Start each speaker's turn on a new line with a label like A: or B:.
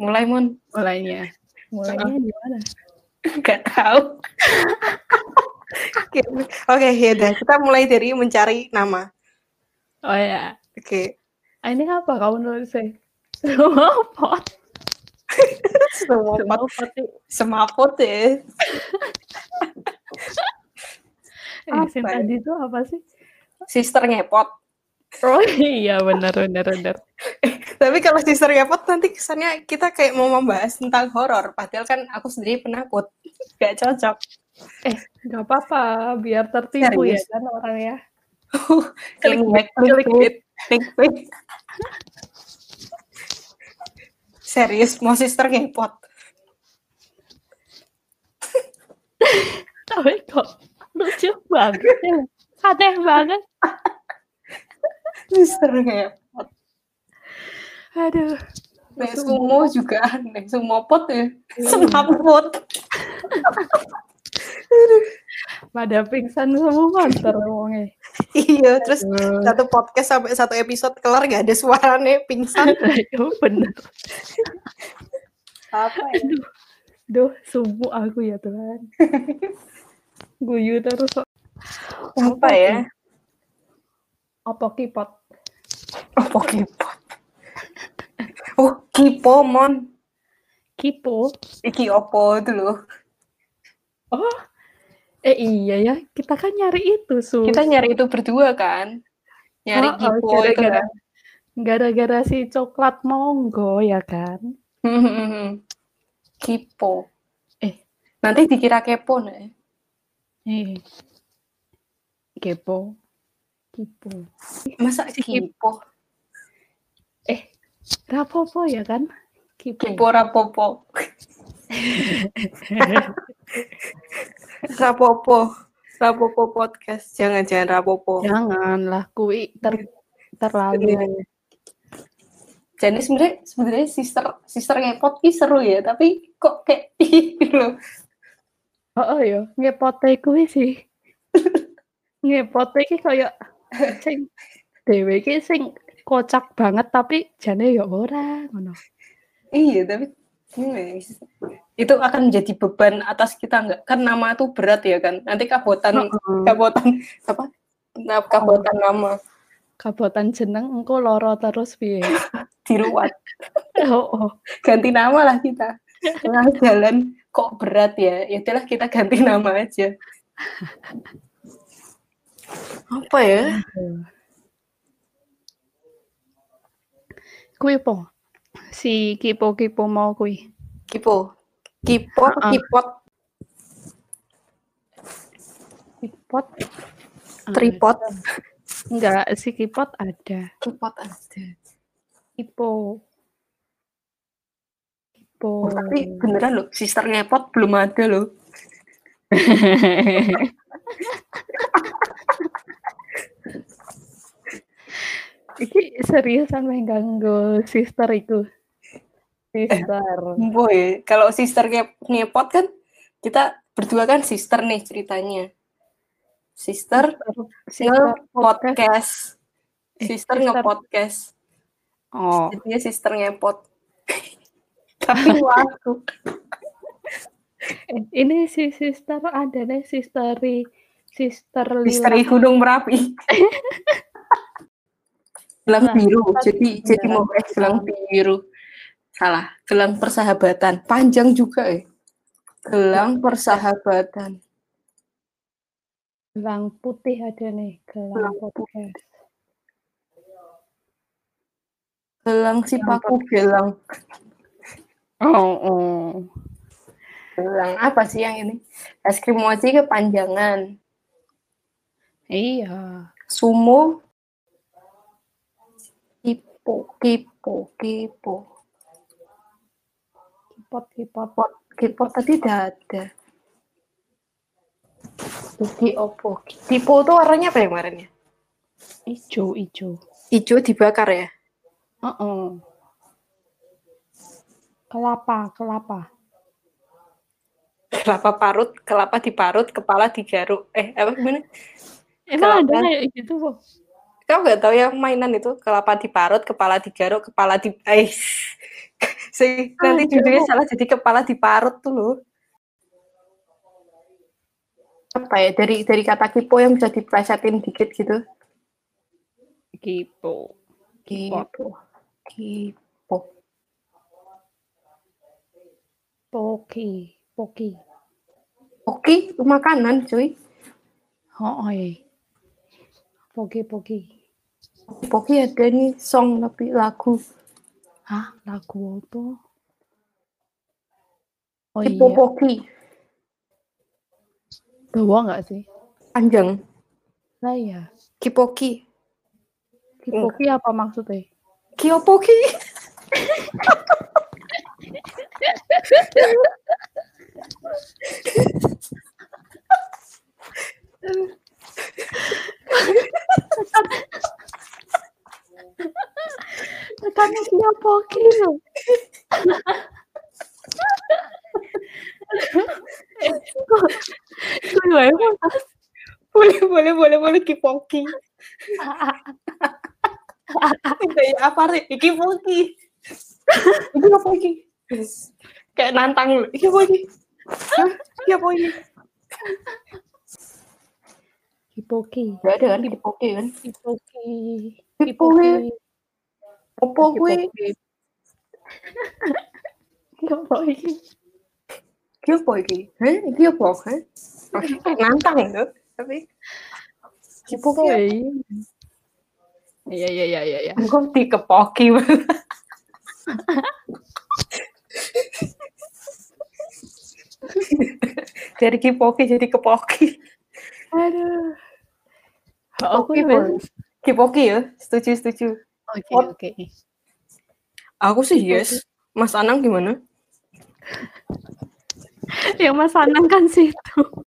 A: Mulai, Mun.
B: mulainya mulainya gimana
A: Gak tahu.
C: Oke, oke, ya udah. Kita mulai dari mencari nama.
B: oh ya
C: Oke.
B: Ah, ini apa kamu nulis sih semapot
C: Semua pot,
B: semapot sih
C: semua pot ya. Apa
B: Eh, yang
C: ya?
B: tadi itu apa sih
C: Sister ngepot.
B: oh iya benar benar benar
C: Tapi kalau sister ngepot nanti kesannya kita kayak mau membahas tentang horor. Padahal kan aku sendiri penakut. Gak cocok.
B: nggak apa-apa biar tertipu
C: Serius.
B: ya kan orang ya
C: Clickbait, clickbait, clickbait. Serius, mau sister ngepot.
B: tapi kok lucu banget ya. aneh banget
C: Sister ngepot.
B: aduh
C: Nah, sumo juga aneh. Sumo pot ya. Semua pot.
B: pada pingsan semua ntar ngomongnya
C: Iya, terus
B: Aduh.
C: satu podcast sampai satu episode kelar gak ada suaranya pingsan
B: Aduh, bener
C: apa ya?
B: Duh, subuh aku ya Tuhan. Guyu terus. kok.
C: apa ya
B: Apa kipot?
C: apa kipot oh kipomon
B: Kipo?
C: iki opo itu loh
B: Oh, eh iya ya. Kita kan nyari itu, Su.
C: kita nyari itu berdua kan nyari
B: Oh, oh,
C: kipo itu
B: gara-gara-
C: kan
B: Gara-gara si coklat monggo ya kan?
C: kipo
B: Eh.
C: nanti dikira kepo nih Iya.
B: Eh. Kepo. Kipo.
C: masa kipo
B: Rapopo ya kan? Kipo.
C: kipo rapopo rapopo rapopo podcast jangan jangan rapopo
B: Janganlah kui ter terlalu.
C: Iya. Jadi sebenarnya sebenarnya sister sister ngepot ki seru ya, tapi kok kayak gitu loh.
B: Oh, oh ya, ngepote kuwi sih. ngepote iki kaya sing dhewe iki sing kocak banget tapi jane ya ora ngono.
C: Iya, tapi gimana ya? itu akan menjadi beban atas kita nggak? Kan nama itu berat ya kan. Nanti kabotan kabotan apa? Nah, kabotan nama
B: Kabotan jeneng engko loro terus piye?
C: diruat.
B: Oh, oh.
C: Ganti nama lah kita. Nah, jalan kok berat ya? Ya udahlah kita ganti nama aja. Apa ya?
B: Kuwi po. Si kipo-kipo mau kuwi.
C: Kipo. Kipo, apa
B: Heeh.
C: kipot,
B: Kipot. Ah,
C: tripod,
B: Enggak, si kipot ada.
C: kipot ada.
B: Kipo. Kipo.
C: Oh, tapi
B: Iya.
C: beneran loh, sister ngepot belum ada loh.
B: Iki seriusan main ganggu sister
C: Eh.
B: iku. Sister.
C: Boy, ya, kalau sister nge- ngepot kan kita berdua kan sister nih ceritanya. Sister,
B: Sister podcast.
C: podcast.
B: Iya, Eh,
C: Sister
B: sister.
C: ngepodcast.
B: Oh,
C: Jadinya sister ngepot. tapi waktu
B: eh, ini si sister ada nih sister sister
C: sister
B: Lila.
C: Gunung Merapi. gelang
B: Nah,
C: biru.
B: tapi
C: Jadi jadi mau eh, gelang biru. Salah, gelang persahabatan. Panjang juga ya. Gelang
B: Iya.
C: persahabatan.
B: Gelang putih ada nih, gelang
C: Gelang
B: podcast.
C: Gelang si paku gelang.
B: Oh, oh.
C: Gelang apa sih yang ini? Es krim mochi kepanjangan.
B: Iya.
C: Sumo. Kipo, kipo, kipo.
B: Kipot kipot.
C: Kipo tadi udah ada. Jadi opo. Kipo tuh warnanya apa ya kemarin ya?
B: Ijo ijo.
C: Ijo dibakar ya?
B: Oh, oh. Kelapa kelapa.
C: kelapa parut, kelapa diparut, kepala digaruk. Eh, apa gimana?
B: Emang ada
C: Kelapa.
B: kayak gitu kok.
C: Kamu nggak tahu yang mainan itu kelapa diparut, kepala digaruk, kepala di eh sih nanti
B: Aduh.
C: judulnya salah jadi kepala diparut tuh loh. Apa ya dari dari kata kipo yang bisa diplesetin dikit gitu.
A: Kipo.
C: Kipo. Kipo.
B: Poki, poki.
C: Oke, itu makanan cuy.
B: Oh, eh. Poki, poki.
C: Poki ada nih song tapi lagu.
B: Hah, lagu apa? Oh
C: Kipo
B: iya,
C: Poki.
B: Dawa nggak sih?
C: Panjang.
B: Lah ya.
C: Kipoki.
B: Kipoki apa maksudnya?
C: Kiopoki.
B: Tekan kipoki loh. Gue emang
C: boleh boleh boleh boleh kipoki kayak apa re kipoki itu apa lagi kayak nantang lu iki apa lagi Hah? Iki apa lagi
B: kipoki.
C: gak ada kan kipoki kan
B: Kipoki.
C: Kipoki. opo gue
B: Apa ini?
C: iki apa lagi heh iki apa heh Oke, kayak nantang itu tapi kipoki
B: Kipoki. Iya, iya, iya, iya, iya.
C: gue dikepoki dari kipoki jadi kepoki
B: Aduh.
C: Oke,
B: Kipoki,
C: boleh. Kipoki ya, setuju setuju.
B: Oke,
C: Pot.
B: oke.
C: Aku sih yes. Mas Anang gimana?
B: Yang Mas Anang kan situ.